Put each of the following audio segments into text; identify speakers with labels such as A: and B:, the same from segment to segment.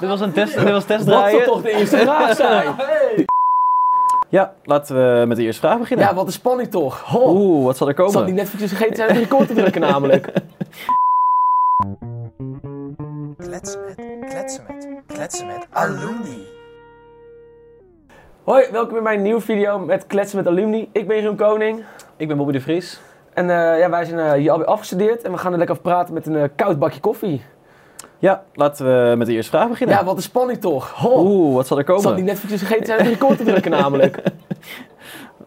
A: Dit was een test, dit was testdraaien.
B: Dat zal toch de eerste vraag zijn?
A: Ja, laten we met de eerste vraag beginnen.
B: Ja, wat een spanning toch. Ho,
A: Oeh, wat zal er komen?
B: zal die net eventjes vergeten zijn om de record te drukken namelijk.
C: Kletsen met, kletsen met, kletsen met alumni.
B: Hoi, welkom bij mijn nieuwe video met Kletsen met Alumni. Ik ben Jeroen Koning.
A: Ik ben Bobby de Vries.
B: En eh, ja, wij zijn eh, hier alweer afgestudeerd en we gaan er lekker over praten met een eh, koud bakje koffie.
A: Ja, laten we met de eerste vraag beginnen.
B: Ja, wat een spanning toch. Ho,
A: Oeh, wat zal er komen?
B: zal die net eventjes vergeten zijn om de record te drukken namelijk.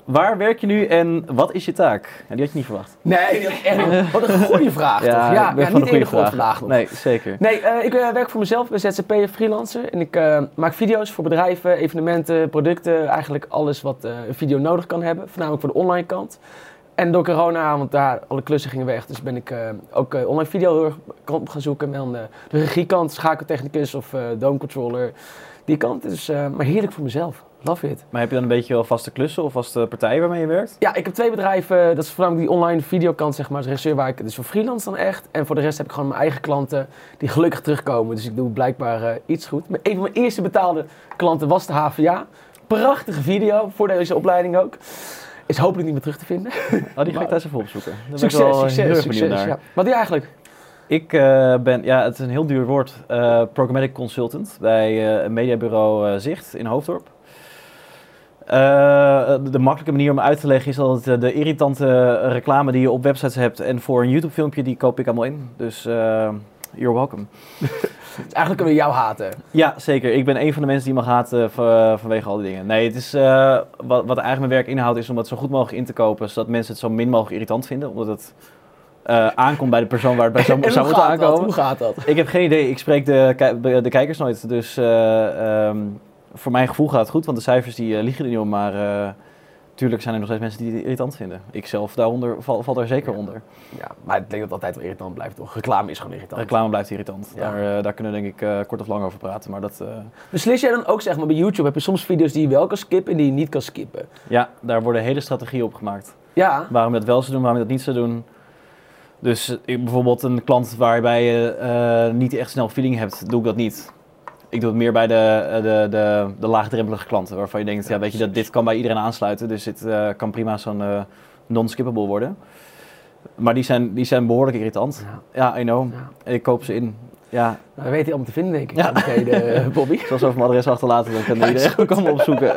A: Waar werk je nu en wat is je taak? Ja, die had je niet verwacht.
B: Nee, dat is echt niet. wat een goede vraag toch.
A: ik
B: Ja,
A: ben
B: ja
A: van
B: niet
A: de goede
B: hele goed
A: vraag.
B: vandaag nog.
A: Nee, zeker.
B: Nee, eh, ik eh, werk voor mezelf, ben ZZP'er, freelancer. En ik eh, maak video's voor bedrijven, evenementen, producten. Eigenlijk alles wat eh, een video nodig kan hebben. Voornamelijk voor de online kant. En door corona, want daar alle klussen gingen weg. Dus ben ik eh, ook eh, online video heel erg kant op gaan zoeken. En dan eh, de regiekant, schakeltechnicus of eh dome controller. Die kant is eh, maar heerlijk voor mezelf. Love it.
A: Maar heb je dan een beetje wel vaste klussen of vaste partijen waarmee je werkt?
B: Ja, ik heb twee bedrijven. Dat is voornamelijk die online videokant, zeg maar. Als regisseur waar ik dus voor freelance dan echt. En voor de rest heb ik gewoon mijn eigen klanten die gelukkig terugkomen. Dus ik doe blijkbaar eh, iets goed. Maar een van mijn eerste betaalde klanten was de HVA. Prachtige video voor deze opleiding ook. Is hopelijk niet meer terug te vinden.
A: Oh, die ga ik thuis even opzoeken. Daar ben ik
B: Succes,
A: wel eh, heel
B: succes,
A: erg benieuwd
B: succes.
A: naar.
B: ja. Wat doe je eigenlijk?
A: Ik eh, ben, ja, het is een heel duur woord, eh, programmatic consultant bij eh, een mediabureau eh, Zicht in Hoofddorp. Eh, de- de makkelijke manier om uit te leggen is dat het, eh, de irritante reclame die je op websites hebt en voor een YouTube filmpje, die koop ik allemaal in. Dus eh, you're welcome.
B: Dus eigenlijk kunnen we jou haten.
A: Ja, zeker. Ik ben een van de mensen die mag haten eh, va- vanwege al die dingen. Nee, het is, eh, wat, wat eigenlijk mijn werk inhoudt is om het zo goed mogelijk in te kopen, zodat mensen het zo min mogelijk irritant vinden. Omdat het eh, aankomt bij de persoon waar het bij zou,
B: En
A: zou
B: hoe
A: moeten
B: gaat dat?
A: aankomen.
B: Hoe gaat dat?
A: Ik heb geen idee. Ik spreek de, ki- de kijkers nooit. Dus eh, ehm, voor mijn gevoel gaat het goed, want de cijfers die eh, liegen er niet om. Maar eh tuurlijk zijn er nog steeds mensen die het irritant vinden. Ik zelf daaronder val, valt daar zeker onder.
B: Ja, maar ik denk dat het altijd wel irritant blijft, toch? Reclame is gewoon irritant.
A: Reclame blijft irritant.
B: Ja.
A: Daar, eh, daar kunnen we denk ik eh, kort of lang over praten. Maar dat, eh,
B: Beslis jij dan ook, zeg maar, bij YouTube heb je soms video's die je wel kan skippen en die je niet kan skippen?
A: ja, daar worden hele strategieën op gemaakt.
B: Ja.
A: Waarom je dat wel zou doen, waarom je dat niet zou doen. Dus eh, ik- bijvoorbeeld een klant waarbij je eh, niet echt snel feeling hebt, doe ik dat niet. Ik doe het meer bij de, eh, de, de, de laagdrempelige klanten, waarvan je denkt, ja, weet je, dat, dit kan bij iedereen aansluiten, dus dit eh, kan prima zo'n eh, non-skippable worden. Maar die zijn, die zijn behoorlijk irritant.
B: Ja.
A: Ja, I know.
B: Ja.
A: Ik koop ze in. Ja,
B: Nou, we weten je allemaal te vinden, denk ik.
A: Ja.
B: Ja. Bobby.
A: zoals over mijn adres achterlaten, dan kan iedereen
B: is
A: echt ook allemaal opzoeken.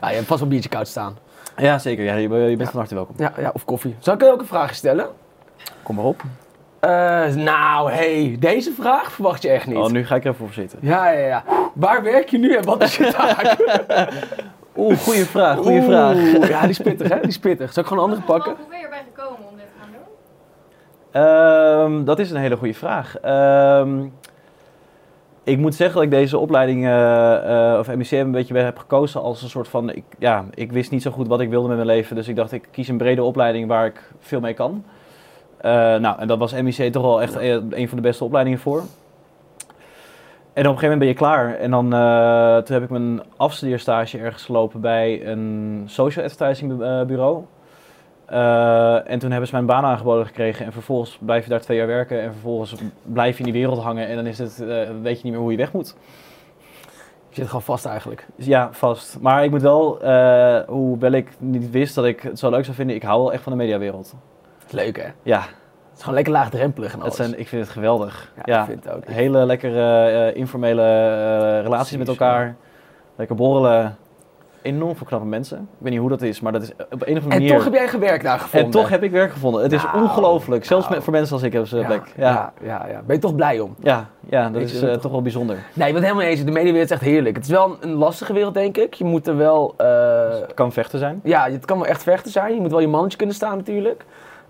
B: Ah, je hebt vast wel een biertje koud staan.
A: Ja, zeker. Ja, je, je bent van harte welkom.
B: Ja, ja, of koffie. Zal ik je ook een vraag stellen?
A: Kom maar op.
B: Eh, nou, hey, deze vraag verwacht je echt niet.
A: Oh, nu ga ik er even voor zitten.
B: Ja, ja, ja. Waar werk je nu en wat is je taak?
A: Oeh, goede vraag, goede
B: Oeh,
A: vraag.
B: Ja, die is pittig, hè? Die is pittig. Zal ik gewoon een andere pakken?
D: Hoe ben je erbij gekomen om dit te gaan doen?
A: Ehm, dat is een hele goede vraag. Ehm, ik moet zeggen dat ik deze opleiding eh, eh, of MICM een beetje heb gekozen als een soort van... Ik, ja, ik wist niet zo goed wat ik wilde met mijn leven. Dus ik dacht, ik kies een brede opleiding waar ik veel mee kan. Eh, nou, en dat was MIC toch wel echt e- een van de beste opleidingen voor. En op een gegeven moment ben je klaar. En dan, eh, toen heb ik mijn afstudeerstage ergens gelopen bij een social advertising eh, bureau. Eh, en toen hebben ze mijn baan aangeboden gekregen. En vervolgens blijf je daar twee jaar werken. En vervolgens blijf je in die wereld hangen. En dan is het, eh, weet je niet meer hoe je weg moet.
B: Je zit gewoon vast eigenlijk.
A: Dus ja, vast. Maar ik moet wel, eh, hoewel ik niet wist dat ik het zo leuk zou vinden. Ik hou wel echt van de mediawereld.
B: Leuk, hè? Het
A: Ja,
B: is gewoon lekker laagdrempelig en
A: het
B: alles.
A: zijn, ik vind het geweldig.
B: ja,
A: ja.
B: ik vind het ook.
A: Hele lekkere eh, informele eh, relaties met
B: Precies,
A: elkaar. Lekker borrelen. Enorm veel knappe mensen. Ik weet niet hoe dat is, maar dat is op een of andere
B: En
A: manier.
B: toch heb jij een werk daar gevonden.
A: en toch heb ik werk gevonden. Het is
B: Nou,
A: ongelooflijk. Zelfs
B: nou.
A: met, voor mensen als ik hebben ze
B: ja,
A: plek. Ja.
B: ja, ja, ja. Ben je toch blij om?
A: Ja, ja dat
B: Ik
A: is
B: vind
A: eh,
B: het
A: toch wel bijzonder.
B: Nee, ik ben het helemaal niet eens. De mediawereld is echt heerlijk. Het is wel een, een lastige wereld, denk ik. Je moet er wel... eh,
A: het kan vechten zijn.
B: Ja, het kan wel echt vechten zijn. Je moet wel je mannetje kunnen staan natuurlijk.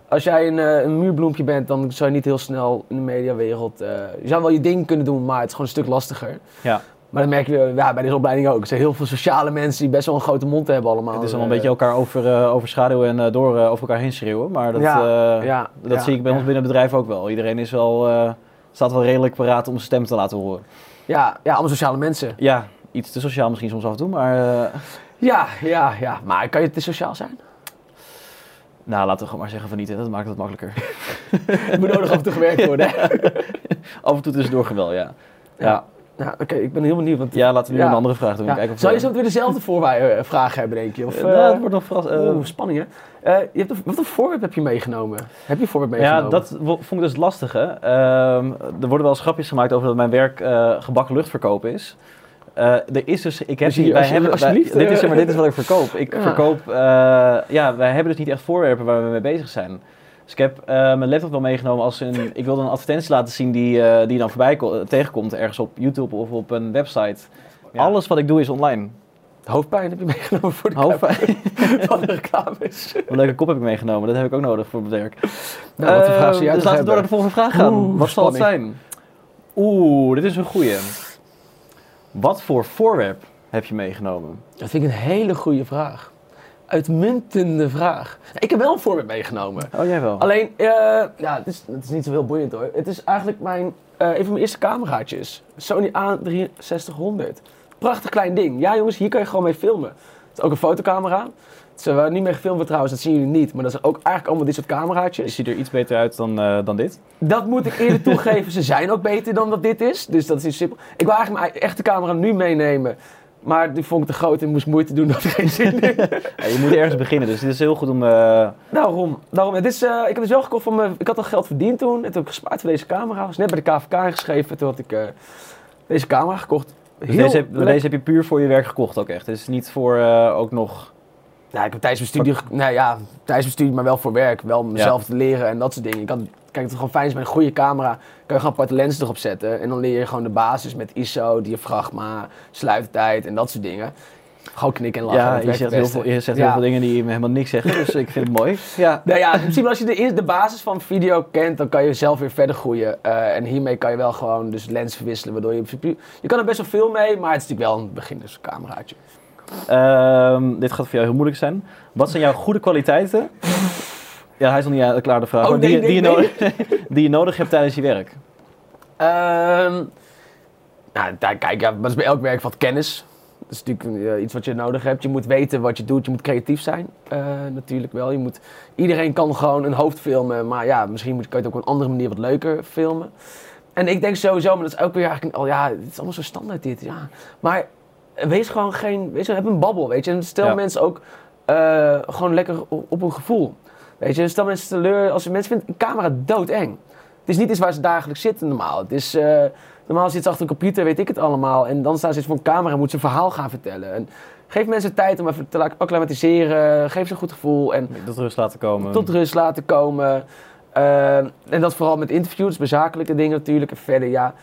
B: Als jij een, eh, een muurbloempje bent, dan zou je niet heel snel in de mediawereld... eh, je zou wel je ding kunnen doen, maar het is gewoon een stuk lastiger.
A: Ja,
B: Maar dat merk je eh, ja, bij deze opleiding ook. Er zijn heel veel sociale mensen die best wel een grote mond hebben allemaal.
A: het is
B: wel
A: allemaal een beetje elkaar over, eh, overschaduwen en eh, door eh, over elkaar heen schreeuwen. Maar dat, eh,
B: ja,
A: dat zie ik bij ons binnen het bedrijf ook wel. Iedereen is wel, eh, staat wel redelijk paraat om zijn stem te laten horen.
B: Ja, ja, allemaal sociale mensen.
A: Ja, iets te sociaal misschien soms af en toe, maar eh,
B: Ja, ja, ja. Maar kan je te sociaal zijn?
A: nou, laten we gewoon maar zeggen van niet. hè. Dat maakt het makkelijker.
B: Het moet nodig af en toe gewerkt worden. hè?
A: af en toe tussendoor geweld, ja. Ja,
B: Nou, oké, ik ben heel benieuwd. Want,
A: Ja, laten we nu
B: Ja.
A: een andere vraag doen.
B: Ja.
A: Kijken of
B: Zou je zo weer dezelfde voorwaar- eh, vragen hebben, denk je? Of,
A: Eh, nou, het
B: eh,
A: wordt nog verrast. eh,
B: Oeh, spanning hè. Eh, je hebt een, wat een voorwerp heb je meegenomen? Heb je een voorwerp meegenomen?
A: ja, dat wo- vond ik dus het lastige. Ehm, er worden wel eens grapjes gemaakt over dat mijn werk eh, gebakken luchtverkoop is. Eh, er is dus, ik heb
B: Dus hier,
A: niet- wij
B: als je-
A: hebben, wij-
B: alsjeblieft,
A: dit, is,
B: eh,
A: maar dit is wat ik verkoop. Ik
B: Ja.
A: verkoop, eh, ja, wij hebben dus niet echt voorwerpen waar we mee bezig zijn. Dus ik heb eh, mijn laptop wel meegenomen als een, ik wilde een advertentie laten zien die, eh, die dan voorbij ko- tegenkomt ergens op YouTube of op een website.
B: Ja.
A: Alles wat ik doe is online.
B: Hoofdpijn heb je meegenomen voor de
A: Hoofdpijn.
B: reclame- van de reclames.
A: Een leuke kop heb ik meegenomen, dat heb ik ook nodig voor mijn werk.
B: Nou, wat een
A: Eh,
B: vraag zou jij
A: dus laten
B: toch
A: we door naar de
B: hebben?
A: volgende vraag gaan.
B: Oeh,
A: wat zal het zijn? Oeh, dit is een goeie. Wat voor voorwerp heb je meegenomen?
B: Dat vind ik een hele goede vraag. Uitmuntende vraag. Ik heb wel een voorwerp meegenomen.
A: Oh, jij wel.
B: Alleen, eh, ja, het is, het is niet zo heel boeiend hoor. Het is eigenlijk mijn, eh een van mijn eerste cameraatjes. Sony A6300. Prachtig klein ding. Ja jongens, hier kan je gewoon mee filmen. Het is ook een fotocamera. Het is eh, waar niet mee gefilmd wordt trouwens, dat zien jullie niet. Maar dat zijn ook eigenlijk allemaal dit soort cameraatjes.
A: Ziet er iets beter uit dan, eh, dan dit?
B: Dat moet ik eerlijk toegeven. Ze zijn ook beter dan dat dit is. Dus dat is niet simpel. Ik wil eigenlijk mijn echte camera nu meenemen. Maar die vond ik te groot en moest moeite doen. Dat had geen zin in.
A: Ja, je moet ergens beginnen, dus dit is heel goed om... eh,
B: Daarom. daarom. Het is, eh, ik heb dus wel gekocht van mijn... Ik had al geld verdiend toen. En toen heb ik gespaard voor deze camera. was net bij de KVK ingeschreven. Toen had ik eh, deze camera gekocht.
A: dus
B: Heel
A: deze, heb,
B: lek-
A: deze heb je puur voor je werk gekocht ook echt. Dus niet voor eh, ook nog...
B: Nou, ik heb tijdens mijn studie... ge- Nou ja, tijdens mijn studie, maar wel voor werk. Wel om mezelf te leren en dat soort dingen. Ik had, kijk, het is gewoon fijn is met een goede camera. Kan je gewoon aparte lenzen erop zetten. En dan leer je gewoon de basis met ISO, diafragma, sluittijd en dat soort dingen. Gewoon knikken en lachen.
A: ja,
B: dat
A: je
B: werkt
A: zegt,
B: het
A: heel
B: beste.
A: veel, je zegt
B: Ja.
A: heel veel dingen die me helemaal niks zeggen, dus ik vind het mooi. Ja.
B: Nou ja, in principe als je de, eerste- de basis van video kent, dan kan je zelf weer verder groeien. Eh, en hiermee kan je wel gewoon dus lens verwisselen, waardoor je... in principe- Je kan er best wel veel mee, maar het is natuurlijk wel een beginnerscameraatje.
A: Ehm, dit gaat voor jou heel moeilijk zijn. Wat zijn jouw goede kwaliteiten? Ja, hij is nog niet eh, klaar de vraag.
B: Oh,
A: maar die,
B: nee, nee,
A: die, je
B: nee.
A: Nodig, die je nodig hebt tijdens je werk.
B: Ehm nou, daar, kijk, ja, dat is bij elk werk wat kennis. Dat is natuurlijk eh, iets wat je nodig hebt. Je moet weten wat je doet, je moet creatief zijn. Eh, natuurlijk wel. Je moet, iedereen kan gewoon een hoofd filmen, maar ja, misschien moet, kan je het ook op een andere manier wat leuker filmen. En ik denk sowieso, maar dat is ook weer eigenlijk al, ja, het is allemaal zo standaard dit, ja. Maar wees gewoon geen, wees, heb een babbel, weet je. En stel
A: Ja.
B: mensen ook eh, gewoon lekker op, op hun gevoel. Weet je, stel mensen teleur, als je mensen vindt, een camera doodeng. Het is niet iets waar ze dagelijks zitten normaal. Het is, eh, normaal zitten ze achter een computer, weet ik het allemaal. En dan staan ze voor een camera en moeten ze een verhaal gaan vertellen. En geef mensen tijd om even te laten acclimatiseren. Geef ze een goed gevoel. En
A: Tot rust laten komen.
B: tot rust laten komen. Eh, en dat vooral met interviews, bezakelijke dingen natuurlijk. En verder, ja,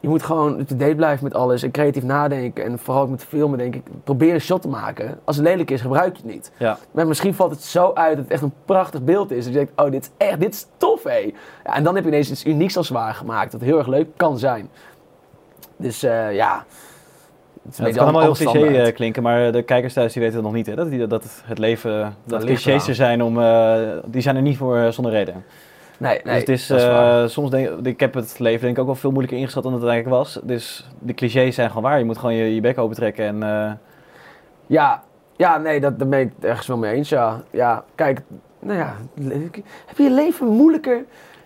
B: je moet gewoon up to date blijven met alles. En creatief nadenken. En vooral ook met filmen, denk ik. Probeer een shot te maken. Als het lelijk is, gebruik je het niet.
A: Ja.
B: Maar misschien valt het zo uit dat het echt een prachtig beeld is. Dat je denkt, oh, dit is echt, dit is tof, hé. Ja, en dan heb je ineens iets unieks als waar gemaakt. Dat heel erg leuk kan zijn. Dus eh, ja. Het, is
A: Ja, het
B: een beetje
A: kan allemaal heel
B: standaard.
A: cliché eh, klinken, maar de kijkers thuis die weten het nog niet. Hè? Dat, die- dat het leven, eh, dat
B: ligt
A: clichés
B: eraan.
A: er zijn, om, eh, die zijn er niet voor eh, zonder reden.
B: Nee, nee,
A: dus het is,
B: dat is waar.
A: eh, soms denk ik heb het leven denk ik ook wel veel moeilijker ingeschat dan het eigenlijk was. Dus de clichés zijn gewoon waar. Je moet gewoon je, je bek open trekken en... eh,
B: Ja, ja nee, dat, daar ben ik het ergens wel mee eens, ja. Ja, kijk, nou ja, leuk. heb je je leven moeilijker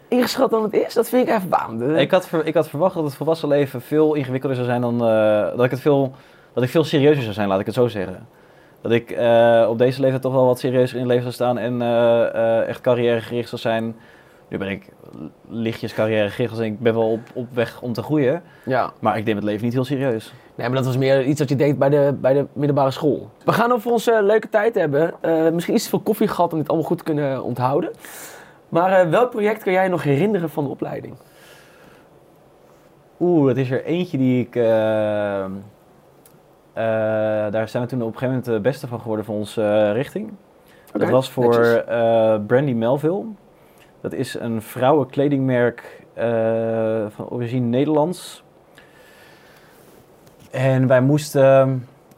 B: ingeschat dan het is? Dat vind ik echt waanzinnig.
A: Ik had, ver- ik had verwacht dat het volwassen leven veel ingewikkelder zou zijn dan. eh, dat, ik het veel, dat ik veel serieuzer zou zijn, laat ik het zo zeggen. Dat ik eh, op deze leeftijd toch wel wat serieuzer in het leven zou staan en eh, eh, echt carrièregericht zou zijn. Nu ben ik lichtjes carrièregericht, dus ik ben wel op, op weg om te groeien.
B: Ja,
A: Maar ik neem het leven niet heel serieus.
B: nee, maar dat was meer iets dat je deed bij de, bij de middelbare school. We gaan over onze leuke tijd hebben. Eh, misschien iets te veel koffie gehad om dit allemaal goed te kunnen onthouden. Maar eh, welk project kan jij nog herinneren van de opleiding?
A: Oeh, dat is er eentje die ik. eh, eh, daar zijn we toen op een gegeven moment de beste van geworden van onze eh, richting.
B: Oké,
A: dat was voor
B: netjes.
A: eh, Brandy Melville. Dat is een vrouwenkledingmerk eh, van origine Nederlands. En wij moesten. ehm,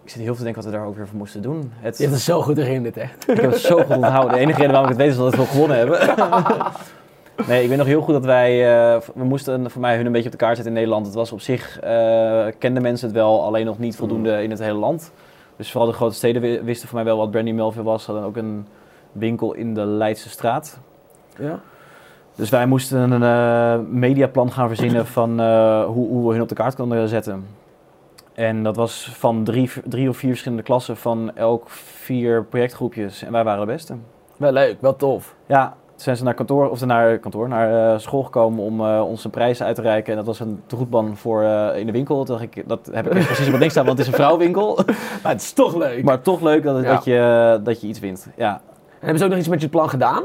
A: Ik zit heel veel te denken wat we daar ook weer voor moesten doen. Het,
B: Je hebt het zo goed herinnerd, echt.
A: ik heb het zo goed onthouden. De enige reden waarom ik het weet is dat we gewonnen hebben. Nee, ik weet nog heel goed dat wij, eh, we moesten voor mij hun een beetje op de kaart zetten in Nederland. Het was op zich, eh, kenden mensen het wel, alleen nog niet voldoende in het hele land. Dus vooral de grote steden wi- wisten voor mij wel wat Brandy Melville was. Ze hadden ook een winkel in de Leidse straat.
B: Ja?
A: Dus wij moesten een eh, mediaplan gaan verzinnen van eh, hoe, hoe we hun op de kaart konden zetten. En dat was van drie, drie of vier verschillende klassen van elk vier projectgroepjes. En wij waren de beste.
B: Wel leuk, wel tof.
A: Ja, toen zijn ze naar kantoor, of naar kantoor, naar eh, school gekomen om eh, ons een prijs uit te reiken. En dat was een goedban voor eh, in de winkel. Toen dacht ik, dat heb ik echt precies op het niks staan, want het is een vrouwwinkel.
B: Maar het is toch leuk.
A: Maar toch leuk dat, het-
B: Ja.
A: dat, je, eh, dat je iets wint. Ja.
B: En hebben ze ook nog iets met je plan gedaan?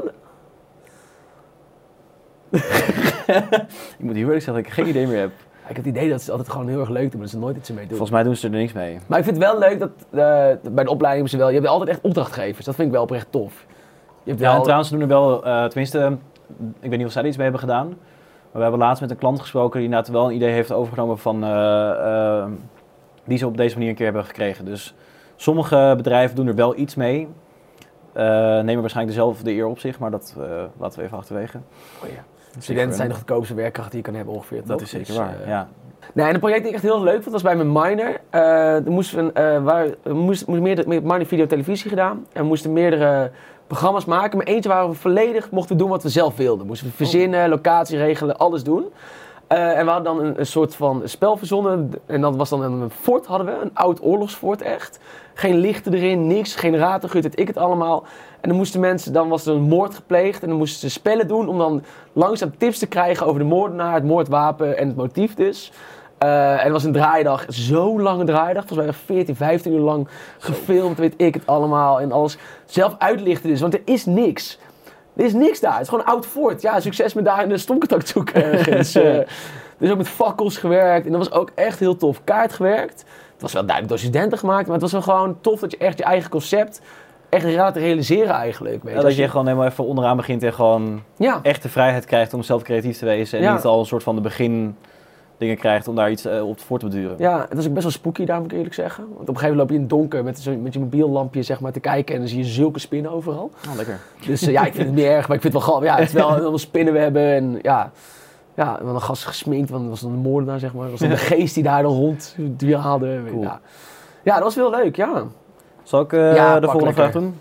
A: Ik moet heel eerlijk zeggen dat ik geen idee meer heb.
B: Ik heb het idee dat ze altijd gewoon heel erg leuk doen, maar dat ze nooit iets mee doen.
A: Volgens mij doen ze er niks mee.
B: Maar ik vind het wel leuk dat eh, bij de opleiding hebben ze wel. Je hebt altijd echt opdrachtgevers. Dat vind ik wel oprecht tof. Je hebt
A: Ja,
B: wel,
A: en trouwens, ze doen er wel, eh, tenminste, ik weet niet of zij er iets mee hebben gedaan. Maar we hebben laatst met een klant gesproken die inderdaad wel een idee heeft overgenomen van, eh, eh, die ze op deze manier een keer hebben gekregen. Dus sommige bedrijven doen er wel iets mee. Eh, nemen waarschijnlijk dezelfde eer op zich, maar dat eh, laten we even achterwege.
B: Oh ja. studenten zijn de goedkoopste werkkracht die je kan hebben ongeveer.
A: Dat
B: toch?
A: is zeker
B: Dus,
A: waar,
B: eh,
A: ja.
B: Nee, en een project die ik echt heel leuk vond was bij mijn minor. Eh er moesten we, een, eh, waar, er moest, moest meerdere, met minor video televisie gedaan. En we moesten meerdere programma's maken. Maar eentje waren we volledig, mochten we doen wat we zelf wilden. Moesten we verzinnen, locatie regelen, alles doen. Eh, en we hadden dan een, een soort van spel verzonnen. En dat was dan een fort hadden we, een oud oorlogsfort echt. Geen lichten erin, niks, geen ratengut, weet ik het allemaal. En dan moesten mensen, dan was er een moord gepleegd en dan moesten ze spellen doen om dan langzaam tips te krijgen over de moordenaar, het moordwapen en het motief dus. Eh, en het was een draaidag, zo'n lange draaidag, volgens mij 14, 15 uur lang gefilmd, weet ik het allemaal. En alles zelf uitlichten dus, want er is niks. Er is niks daar, het is gewoon een oud fort. Ja, succes met daar een stomcontact zoeken ergens. Eh, dus ook met fakkels gewerkt en dat was ook echt heel tof. Kaart gewerkt, het was wel duidelijk door studenten gemaakt, maar het was wel gewoon tof dat je echt je eigen concept echt laat realiseren eigenlijk. Weet je.
A: Ja,
B: Als
A: dat je gewoon helemaal even onderaan begint en gewoon
B: Ja,
A: echt de vrijheid krijgt om zelf creatief te wezen. En
B: Ja.
A: niet al een soort van de begin dingen krijgt om daar iets eh, op voor te beduren.
B: ja, het was ook best wel spooky daar moet ik eerlijk zeggen. Want op een gegeven moment loop je in het donker met, zo- met je mobiel lampje zeg maar, te kijken en dan zie je zulke spinnen overal.
A: Oh, lekker.
B: Dus eh, ja, ik vind het niet erg, maar ik vind het wel grappig. Ja, het is wel allemaal spinnenwebben en ja. Ja, en dan een gast gesminkt, want dat was dan de moordenaar, zeg maar. Dat was dan de geest die daar dan rond dwaalde.
A: Cool.
B: Ja. ja, dat was wel leuk, ja.
A: Zal ik eh,
B: Ja,
A: de
B: pak
A: volgende
B: lekker.
A: vraag doen?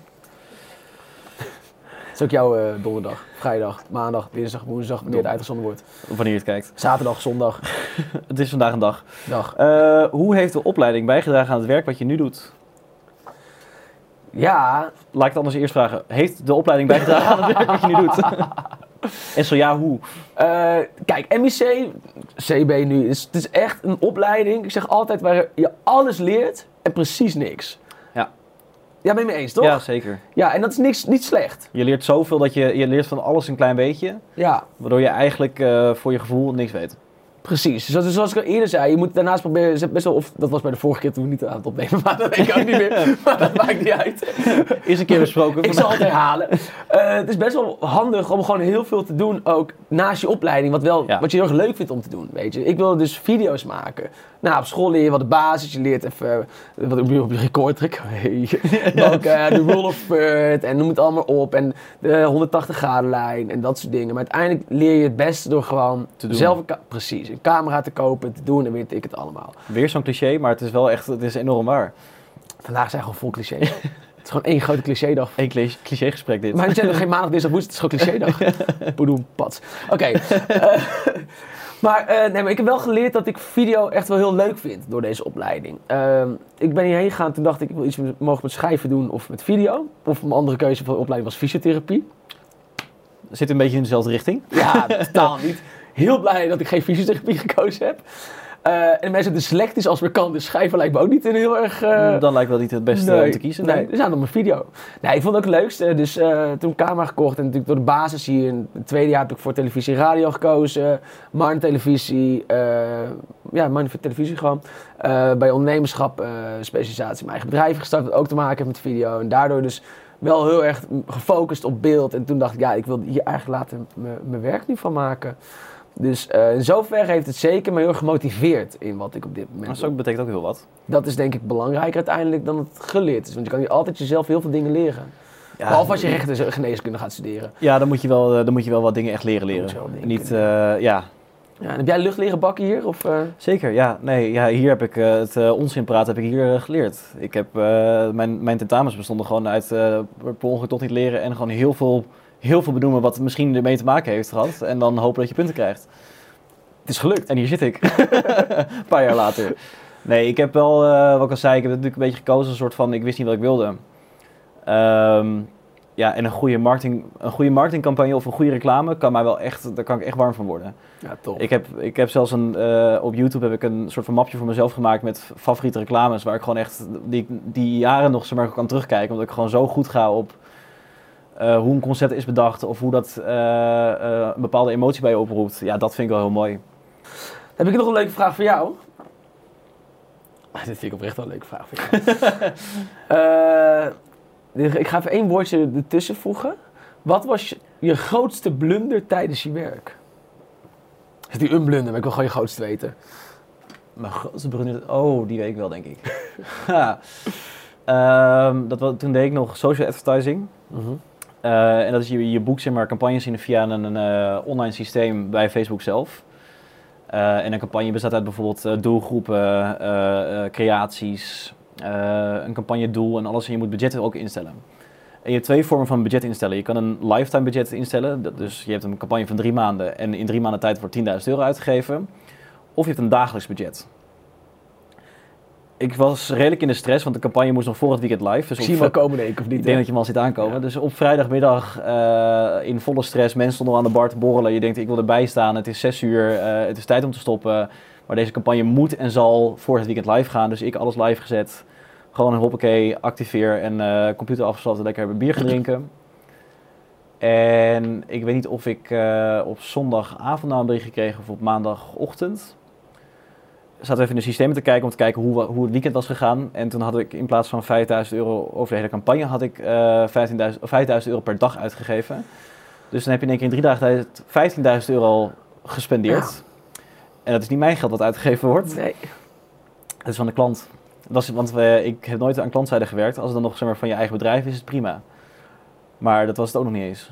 B: Dat is ook jouw eh, donderdag, vrijdag, maandag, dinsdag, woensdag, wanneer het uitgezonden wordt.
A: Of Wanneer je het kijkt.
B: Zaterdag, zondag,
A: Het is vandaag een dag.
B: dag.
A: Eh, hoe heeft de opleiding bijgedragen aan het werk wat je nu doet?
B: Ja,
A: Laat ik het anders eerst vragen. Heeft de opleiding bijgedragen aan het werk wat je nu doet? en zo ja, hoe?
B: Eh, kijk, MIC, CB nu, is, het is echt een opleiding. Ik zeg altijd waar je alles leert en precies niks.
A: Ja.
B: Ja, ben je mee eens, toch?
A: Ja, zeker.
B: Ja, en dat is niks, niet slecht.
A: Je leert zoveel dat je, je leert van alles een klein beetje,
B: Ja,
A: waardoor je eigenlijk eh, voor je gevoel niks weet.
B: precies. Dus dat is zoals ik al eerder zei, je moet daarnaast proberen, ze- best wel, of dat was bij de vorige keer toen we niet aan het opnemen, maar dat weet ik ook niet meer. Maar dat maakt niet uit.
A: Is een keer besproken.
B: Ik zal het herhalen. Eh, het is best wel handig om gewoon heel veel te doen, ook naast je opleiding, wat, wel,
A: Ja.
B: wat je heel erg leuk vindt om te doen. Weet je. Ik wilde dus video's maken. Nou, op school leer je wat de basis, je leert even eh, wat op je record trek. Hey. Maar ook eh, de rule of third en noem het allemaal op. En de 180 graden lijn en dat soort dingen. Maar uiteindelijk leer je het beste door gewoon
A: Te doen.
B: zelf een ka- precies, een camera te kopen, te doen en weet ik het allemaal.
A: Weer zo'n cliché, maar het is wel echt, het is enorm waar.
B: Vandaag zijn gewoon vol clichés. het is gewoon één grote clichédag
A: Eén cliché, gesprek dit.
B: Maar het is nog geen maandag, dinsdag, woensdag. Het is gewoon clichédag. Boedoem, pats. Oké. eh, maar, eh, nee, maar ik heb wel geleerd dat ik video echt wel heel leuk vind door deze opleiding. Ehm, ik ben hierheen gegaan, toen dacht ik, ik wil iets met, mogen met schrijven doen of met video. Of mijn andere keuze van de opleiding was fysiotherapie.
A: Zit een beetje in dezelfde richting.
B: Ja, totaal niet. Heel blij dat ik geen fysiotherapie gekozen heb. Eh en mensen dyslectisch als we kan, dus schrijven lijkt me ook niet een heel erg... eh,
A: Dan lijkt wel niet het beste om te kiezen.
B: Nee,
A: Nee.
B: dus aan op mijn video. Nee, ik vond het ook het leukste. Dus eh, toen camera gekocht en natuurlijk door de basis hier. In het tweede jaar heb ik voor televisie en radio gekozen. Marn televisie. eh, ja, Marn televisie gewoon. Eh, bij ondernemerschap, eh, specialisatie, mijn eigen bedrijf gestart. Wat ook te maken heeft met video. En daardoor dus wel heel erg gefocust op beeld. En toen dacht ik, ja, ik wil hier eigenlijk later mijn- mijn werk nu van maken. Dus eh, in zoverre heeft het zeker me heel erg gemotiveerd in wat ik op dit moment
A: Dat is
B: doe
A: ook- betekent ook heel wat.
B: dat is denk ik belangrijker uiteindelijk dan het geleerd is. Want je kan hier altijd jezelf heel veel dingen leren. Behalve als je rechten geneeskunde gaat studeren.
A: Ja, dan moet je wel, eh, dan moet je wel wat dingen echt leren
B: moet je wel
A: leren.
B: dingen
A: Niet, eh, ja,
B: Ja, en heb jij lucht leren bakken hier? Of, eh?
A: Zeker, ja. Nee, ja, hier heb ik eh, het eh, onzin praten heb ik hier eh, geleerd. Ik heb, eh, mijn, mijn tentamens bestonden gewoon uit eh, per ongeluk toch niet leren en gewoon heel veel heel veel benoemen wat misschien ermee te maken heeft gehad. En dan hopen dat je punten krijgt. Het is gelukt en hier zit ik. een paar jaar later. Nee, ik heb wel, eh, wat ik al zei, ik heb natuurlijk een beetje gekozen. Een soort van, ik wist niet wat ik wilde. Ehm, ja, en een goede, marketing, een goede marketingcampagne of een goede reclame kan mij wel echt, daar kan ik echt warm van worden.
B: Ja, top.
A: Ik heb, ik heb zelfs een, eh, op YouTube heb ik een soort van mapje voor mezelf gemaakt met favoriete reclames. Waar ik gewoon echt die, die jaren nog zeg maar, kan terugkijken. Omdat ik gewoon zo goed ga op eh, hoe een concept is bedacht. Of hoe dat eh, eh, een bepaalde emotie bij je oproept. Ja, dat vind ik wel heel mooi.
B: Heb ik nog een leuke vraag voor jou? Ah, dit vind ik oprecht wel een leuke vraag voor jou. Eh, dit- ik ga even één woordje ertussen voegen. Wat was je- je grootste blunder tijdens je werk? Is die een blunder, maar ik wil gewoon je grootste weten.
A: Mijn grootste brunette... Oh, die weet ik wel, denk ik. ja. Ehm, dat, wa- toen deed ik nog social advertising.
B: Mhm.
A: Eh, en dat is je, je boekt zeg maar, campagnes in via een, eh, online systeem bij Facebook zelf. Eh, en een campagne bestaat uit bijvoorbeeld eh, doelgroepen, eh, eh, creaties, eh, een campagnedoel en alles. En je moet budgetten ook instellen. En je hebt twee vormen van budget instellen. Je kan een lifetime budget instellen. Dat- Dus je hebt een campagne van drie maanden en in drie maanden tijd wordt 10.000 euro uitgegeven. Of je hebt een dagelijks budget. Ik was redelijk in de stress, want de campagne moest nog voor het weekend live. Dus op
B: Ik zie hem
A: vri-
B: wel komen, denk ik, of niet?
A: ik denk
B: hè?
A: dat je hem al ziet aankomen.
B: Ja.
A: Dus op vrijdagmiddag eh, in volle stress, mensen stonden aan de bar te borrelen. Je denkt, ik wil erbij staan, het is zes uur, eh, het is tijd om te stoppen. Maar deze campagne moet en zal voor het weekend live gaan. Dus ik alles live gezet. Gewoon een hoppakee, activeer en eh, computer afgesloten, lekker hebben bier gaan drinken. En ik weet niet of ik eh, op zondagavond nou een bericht gekregen of op maandagochtend. Ik zat even in de systemen te kijken om te kijken hoe, wa- hoe het weekend was gegaan. En toen had ik in plaats van 5000 euro over de hele campagne, had ik eh 15.000 of 5000 euro per dag uitgegeven. Dus dan heb je in één keer in drie dagen tijd 15.000 euro gespendeerd. En dat is niet mijn geld wat uitgegeven wordt.
B: Nee.
A: Het is van de klant. Dat is, want we, ik heb nooit aan klantzijde gewerkt. Als het dan nog zeg maar, van je eigen bedrijf is, is het prima. Maar dat was het ook nog niet eens.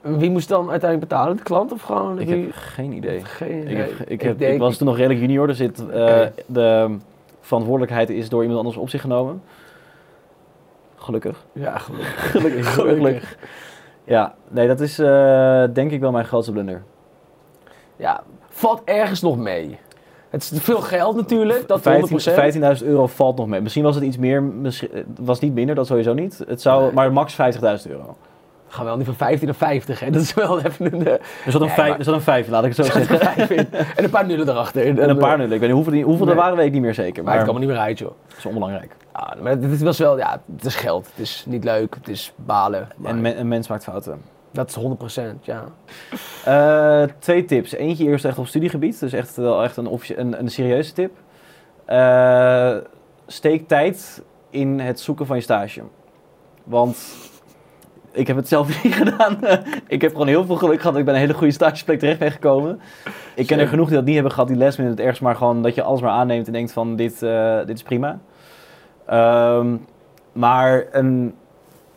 B: Wie moest dan uiteindelijk betalen? De klant of gewoon?
A: Ik
B: wie?
A: heb geen idee.
B: Geen
A: Ik,
B: idee.
A: heb, ik, heb, ik
B: denk-
A: was toen nog redelijk junior, dus dit, eh,
B: Oké.
A: de verantwoordelijkheid is door iemand anders op zich genomen. Gelukkig.
B: Ja, gelukkig.
A: Gelukkig.
B: Gelukkig.
A: Ja, nee, dat is eh, denk ik wel mijn grootste blunder.
B: Ja, valt ergens nog mee. Het is veel geld natuurlijk, dat 100%.
A: 15 15.000 euro valt nog mee. Misschien was het iets meer, misschien, eh, het was niet minder, dat sowieso niet. Het zou,
B: Nee.
A: Maar max 50.000 euro.
B: We gaan wel niet van 15 naar 50, hè? Dat is wel even een... eh,
A: Er zat een,
B: Nee,
A: vijf,
B: maar-
A: er zat een vijf, laat ik het zo zeggen.
B: vijf in. En een paar nullen erachter.
A: En een paar nullen. Ik weet niet hoeveel, die- hoeveel
B: Nee.
A: er waren, weet ik niet meer zeker.
B: Maar
A: Maar
B: het
A: dat
B: kan me niet meer uit, joh.
A: is onbelangrijk.
B: Ah, maar dit was wel, ja, het is geld. Het is niet leuk, het is balen. Maar
A: En men- een mens maakt fouten.
B: dat is 100%, ja.
A: Eh, twee tips. Eentje eerst echt op studiegebied, dus echt wel echt een, officie- een, een serieuze tip. Eh, steek tijd in het zoeken van je stage. Want ik heb het zelf niet gedaan. ik heb gewoon heel veel geluk gehad. dat Ik ben een hele goede stageplek terecht ben gekomen. Ik ken er
B: Zeker.
A: genoeg die dat niet hebben gehad, die les het ergens maar gewoon dat je alles maar aanneemt en denkt van dit, eh, dit is prima. Ehm, maar een,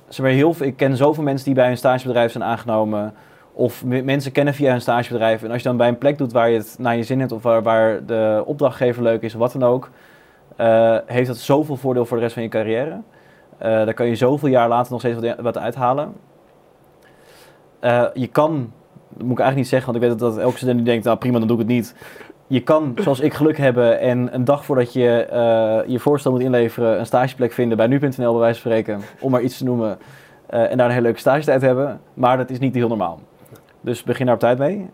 A: zeg maar heel veel, ik ken zoveel mensen die bij een stagebedrijf zijn aangenomen. Of me- mensen kennen via een stagebedrijf. En als je dan bij een plek doet waar je het naar je zin hebt of waar, waar de opdrachtgever leuk is of wat dan ook. eh, heeft dat zoveel voordeel voor de rest van je carrière. Eh, daar kan je zoveel jaar later nog steeds wat, wat uithalen. Eh, je kan, dat moet ik eigenlijk niet zeggen, want ik weet dat, dat elke student die denkt, nou prima, dan doe ik het niet. Je kan, zoals ik, geluk hebben en een dag voordat je eh, je voorstel moet inleveren, een stageplek vinden bij nu.nl bij wijze van spreken, om maar iets te noemen. Eh, en daar een hele leuke stage tijd hebben. Maar dat is niet heel normaal. Dus begin daar op tijd mee.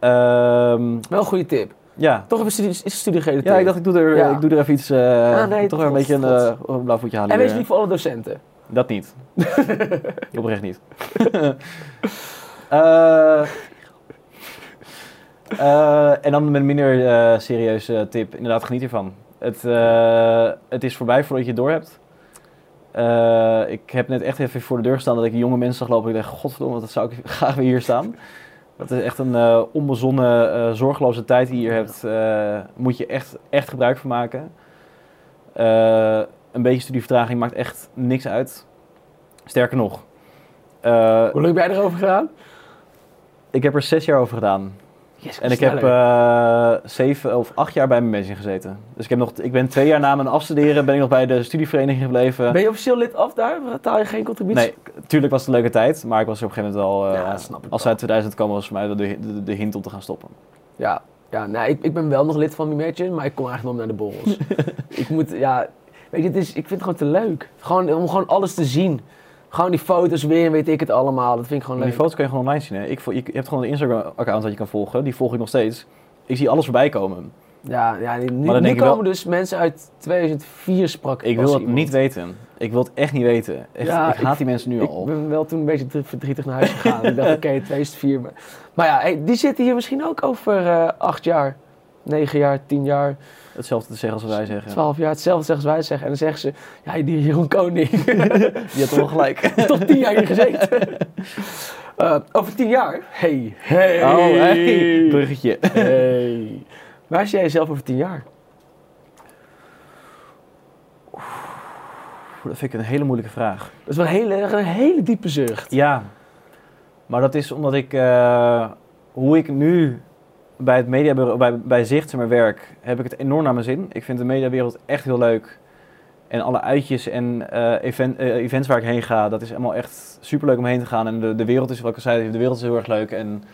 A: Ehm,
B: Wel een goede tip.
A: ja.
B: Toch even studie, is studie gerelateerd.
A: ja, ik dacht ik doe er,
B: Ja.
A: ik doe er even iets, eh,
B: Ah,
A: toch
B: nee,
A: weer een
B: trots,
A: beetje een,
B: trots.
A: eh, een blauw voetje halen
B: En wees
A: hier.
B: lief voor alle docenten.
A: Dat niet. Oprecht niet. Eh, eh, en dan met een minder eh, serieuze tip. Inderdaad, geniet ervan. Het, eh, het is voorbij voordat je het doorhebt. Eh, ik heb net echt even voor de deur gestaan dat ik jonge mensen zag lopen. Ik dacht, godverdomme, dat zou ik graag weer hier staan. Dat is echt een eh, onbezonnen, eh, zorgeloze tijd die je hier hebt. eh, moet je echt, echt gebruik van maken. Eh, een beetje studievertraging maakt echt niks uit. Sterker nog, eh,
B: Hoe lang heb jij erover gedaan?
A: ik heb er zes jaar over gedaan.
B: Yes,
A: En ik heb
B: sneller.
A: eh, zeven of acht jaar bij mijn managing gezeten. Dus ik, heb nog, ik ben twee jaar na mijn afstuderen ben ik nog bij de studievereniging gebleven.
B: Ben je officieel lid af daar? Betaal je geen contributie?
A: Eh. Nee, tuurlijk was het een leuke tijd, maar ik was er op een gegeven moment wel... eh,
B: Ja, dat snap ik
A: als ze
B: wel.
A: uit 2000 kwam, was voor mij wel de, de, de hint om te gaan stoppen.
B: Ja, ja nou, ik, ik ben wel nog lid van die Imagine, maar ik kom eigenlijk nog naar de borrels. ik moet, ja, weet je, het is, ik vind het gewoon te leuk. Gewoon, om gewoon alles te zien. Gewoon die foto's weer en weet ik het allemaal. Dat vind ik gewoon
A: Maar
B: leuk.
A: die foto's kun je gewoon online zien. Hè? Ik, vo- je, je hebt gewoon een Instagram-account dat je kan volgen. Die volg ik nog steeds. Ik zie alles voorbij komen.
B: Ja, ja nu,
A: dan
B: nu
A: denk ik wel-
B: komen dus mensen uit 2004 sprak
A: Ik
B: pas
A: wil het
B: iemand.
A: niet weten. Ik wil het echt niet weten. Echt,
B: Ja,
A: ik haat
B: ik-
A: die mensen nu
B: Ik
A: al.
B: ben wel toen een beetje dr- verdrietig naar huis gegaan. ik dacht, oké, 2004. Maar, maar ja, hey, die zitten hier misschien ook over eh, acht jaar, negen jaar, tien jaar,
A: Hetzelfde te zeggen als wij zeggen.
B: twaalf jaar. Hetzelfde zeggen als wij zeggen. En dan zeggen ze, ja, die Jeroen Koning.
A: Je hebt wel gelijk.
B: is toch tien jaar hier gezeten. Eh, over tien jaar? Hey, hey.
A: Oh, hey. Bruggetje.
B: Hey. Waar zie jij jezelf over tien jaar?
A: Dat vind ik een hele moeilijke vraag.
B: Dat is wel een hele, een hele diepe zucht.
A: Ja. Maar dat is omdat ik... eh, hoe ik nu bij het mediabureau, bij, bij Zicht, zeg maar, werk... heb ik het enorm naar mijn zin. Ik vind de mediawereld echt heel leuk. En alle uitjes en eh, event- eh, events waar ik heen ga, dat is allemaal echt superleuk om heen te gaan. En de, de wereld is, wat ik al zei, de wereld is heel erg leuk. En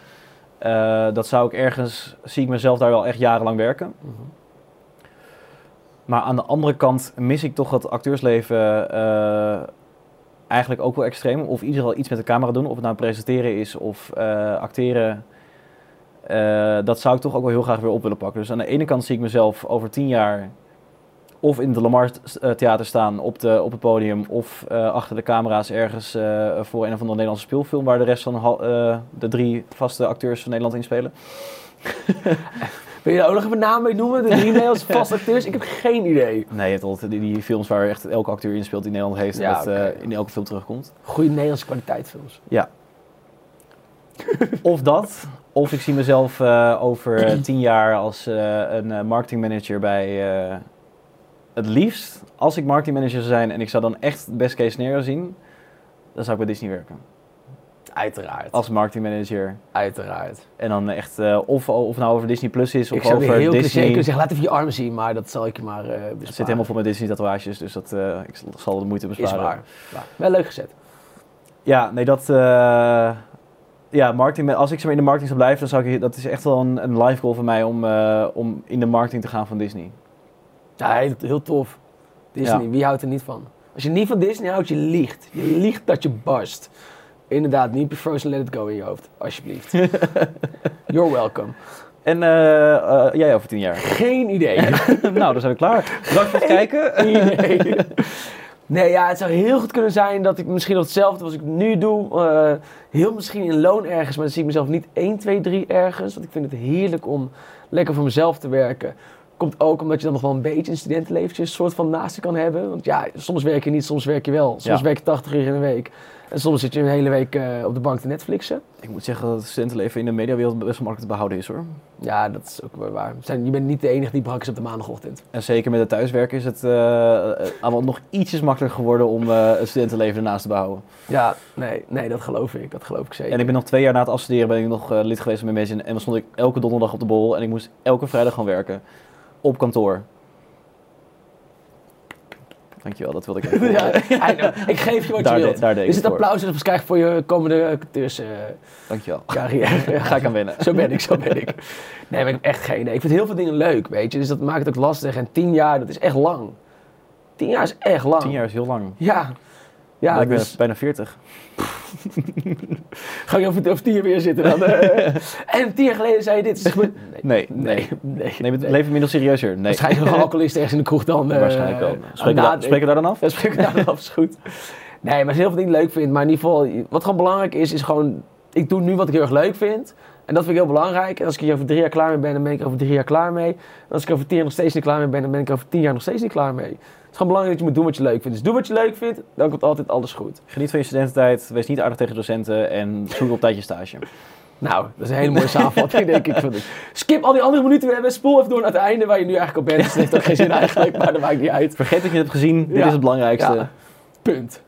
A: eh, dat zou ik ergens, zie ik mezelf daar wel echt jarenlang werken. Maar aan de andere kant mis ik toch dat acteursleven eh, eigenlijk ook wel extreem. Of in ieder geval iets met de camera doen, of het nou presenteren is of eh, acteren. Eh, dat zou ik toch ook wel heel graag weer op willen pakken. Dus aan de ene kant zie ik mezelf over tien jaar of in de Lamar eh, Theater staan op, de, op het podium, of eh, achter de camera's ergens eh, voor een of andere Nederlandse speelfilm waar de rest van de hal- eh, de drie vaste acteurs van Nederland in spelen.
B: Wil je daar ook nog even naam mee noemen? De drie Nederlandse vaste acteurs? Ik heb geen idee.
A: Nee, je hebt altijd die, die films waar echt elke acteur in speelt die Nederland heeft
B: Ja,
A: en dat eh,
B: oké.
A: in elke film terugkomt.
B: Goede Nederlandse kwaliteitfilms.
A: Of dat, of ik zie mezelf eh, over tien jaar als eh, een eh, marketingmanager bij eh, het liefst. Als ik marketingmanager zou zijn en ik zou dan echt best case scenario zien, dan zou ik bij Disney werken.
B: Uiteraard.
A: Als marketingmanager.
B: Uiteraard.
A: En dan echt, eh, of, of nou over Disney Plus is, of
B: Ik zou weer
A: over
B: heel cliché
A: Disney.
B: kunnen zeggen, laat even je arm zien, maar dat zal ik je maar eh besparen.
A: Het zit helemaal vol met Disney tatoeages, dus dat, eh, ik zal- zal de moeite
B: Is
A: besparen.
B: waar. Waar. Wel leuk gezet.
A: Ja, nee, dat... eh, ja, marketing, als ik zeg maar, in de marketing zou blijven, dan zou ik... Dat is echt wel een, een life goal van mij om, eh, om in de marketing te gaan van Disney.
B: Ja, heel, heel tof. Disney,
A: Ja.
B: wie houdt er niet van? Als je niet van Disney houdt, je liegt. Je liegt dat je barst. Inderdaad, niet be frozen, let it go in je hoofd. Alsjeblieft. You're welcome.
A: En eh, eh, jij over tien jaar.
B: Geen idee.
A: nou, dan zijn we klaar. Bedankt voor het kijken.
B: idee. Nee, ja, het zou heel goed kunnen zijn dat ik misschien nog hetzelfde als ik nu doe. eh, heel misschien in loon ergens, maar dan zie ik mezelf niet 1, 2, 3 ergens. Want ik vind het heerlijk om lekker voor mezelf te werken. Komt ook omdat je dan nog wel een beetje een studentenleventje een soort van naast je kan hebben. Want ja, soms werk je niet, soms werk je wel. Soms
A: Ja.
B: werk je 80 uur in een week. En soms zit je een hele week eh, op de bank te Netflixen.
A: Ik moet zeggen dat het studentenleven in de mediawereld best wel makkelijk te behouden is, hoor.
B: Ja, dat is ook wel waar. Zijn, je bent niet de enige die brak is op de maandagochtend.
A: En zeker met het thuiswerken is het eh, eh, allemaal nog ietsjes makkelijker geworden om eh, het studentenleven ernaast te behouden.
B: Ja, nee, nee, dat geloof ik. Dat geloof ik zeker.
A: En ik ben nog twee jaar na het afstuderen ben ik nog eh, lid geweest van mijn Imagine. En dan stond ik elke donderdag op de bol en ik moest elke vrijdag gaan werken. Op kantoor. Dankjewel, dat wilde ik even.
B: Ja, I know. ik geef je wat
A: Daar
B: je
A: de-
B: wilt.
A: daar deed ik
B: is
A: het
B: het
A: voor.
B: applaus dat je krijgt voor je komende acteurscarrière?
A: Dankjewel.
B: carrière.
A: Daar ga ik aan wennen.
B: zo ben ik, zo ben ik. Nee, maar ik heb echt geen idee. Ik vind heel veel dingen leuk, weet je. Dus dat maakt het ook lastig. En tien jaar, dat is echt lang. Tien jaar is echt lang.
A: Tien jaar is heel lang.
B: Ja.
A: Ja,
B: Ja,
A: ik ben
B: dus
A: bijna veertig.
B: ga ik over, over tien jaar weer zitten dan. eh. en tien jaar geleden zei je dit. is gebeurd.
A: Nee, nee.
B: nee,
A: nee.
B: nee.
A: Neem het leven inmiddels serieuzer. Nee,
B: Waarschijnlijk nog een alcoholist ergens in de kroeg dan. eh,
A: waarschijnlijk wel.
B: aan
A: Spreken we, daar-
B: nadenken.
A: spreken we daar dan af?
B: Dat spreek ik nou af, is goed. Nee, maar als je heel veel dingen leuk vindt, maar in ieder geval, wat gewoon belangrijk is, is gewoon, ik doe nu wat ik heel erg leuk vind. En dat vind ik heel belangrijk. En als ik hier over drie jaar klaar mee ben, dan ben ik er over drie jaar klaar mee. En als ik er over tien jaar nog steeds niet klaar mee ben, dan ben ik er over tien jaar nog steeds niet klaar mee. Het is gewoon belangrijk dat je moet doen wat je leuk vindt. Dus doe wat je leuk vindt, dan komt altijd alles goed.
A: Geniet van je studententijd, wees niet aardig tegen docenten en zoek op tijd je stage.
B: Nou, dat is een hele mooie samenvatting, denk ik. Van dit. Skip al die andere minuten weer en spoel even door naar het einde waar je nu eigenlijk op bent. Dus dat heeft ook geen zin eigenlijk, maar dat maakt niet uit.
A: Vergeet dat je het hebt gezien, dit
B: Ja.
A: is het belangrijkste.
B: Ja. Punt.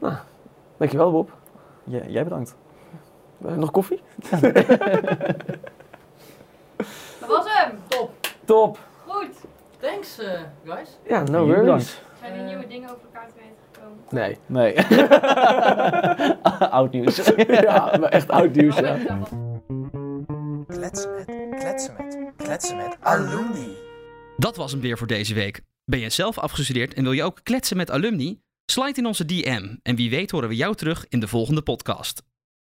B: Nou, dankjewel Bob.
A: Ja, jij bedankt.
B: Eh, Nog koffie?
D: Dat was hem. Top.
B: Top.
D: Goed. Thanks, eh, guys.
B: Ja, no
A: Jullie
B: worries.
A: bedankt.
D: Zijn er nieuwe dingen over elkaar te weten gekomen?
B: Nee.
A: Nee. Oud nieuws.
B: ja, maar echt oud nieuws, ja.
D: Oh, ik dacht al.
C: Kletsen met, kletsen met, kletsen met alumni.
E: Dat was hem weer voor deze week. Ben je zelf afgestudeerd en wil je ook kletsen met alumni? Slide in onze DM en wie weet horen we jou terug in de volgende podcast.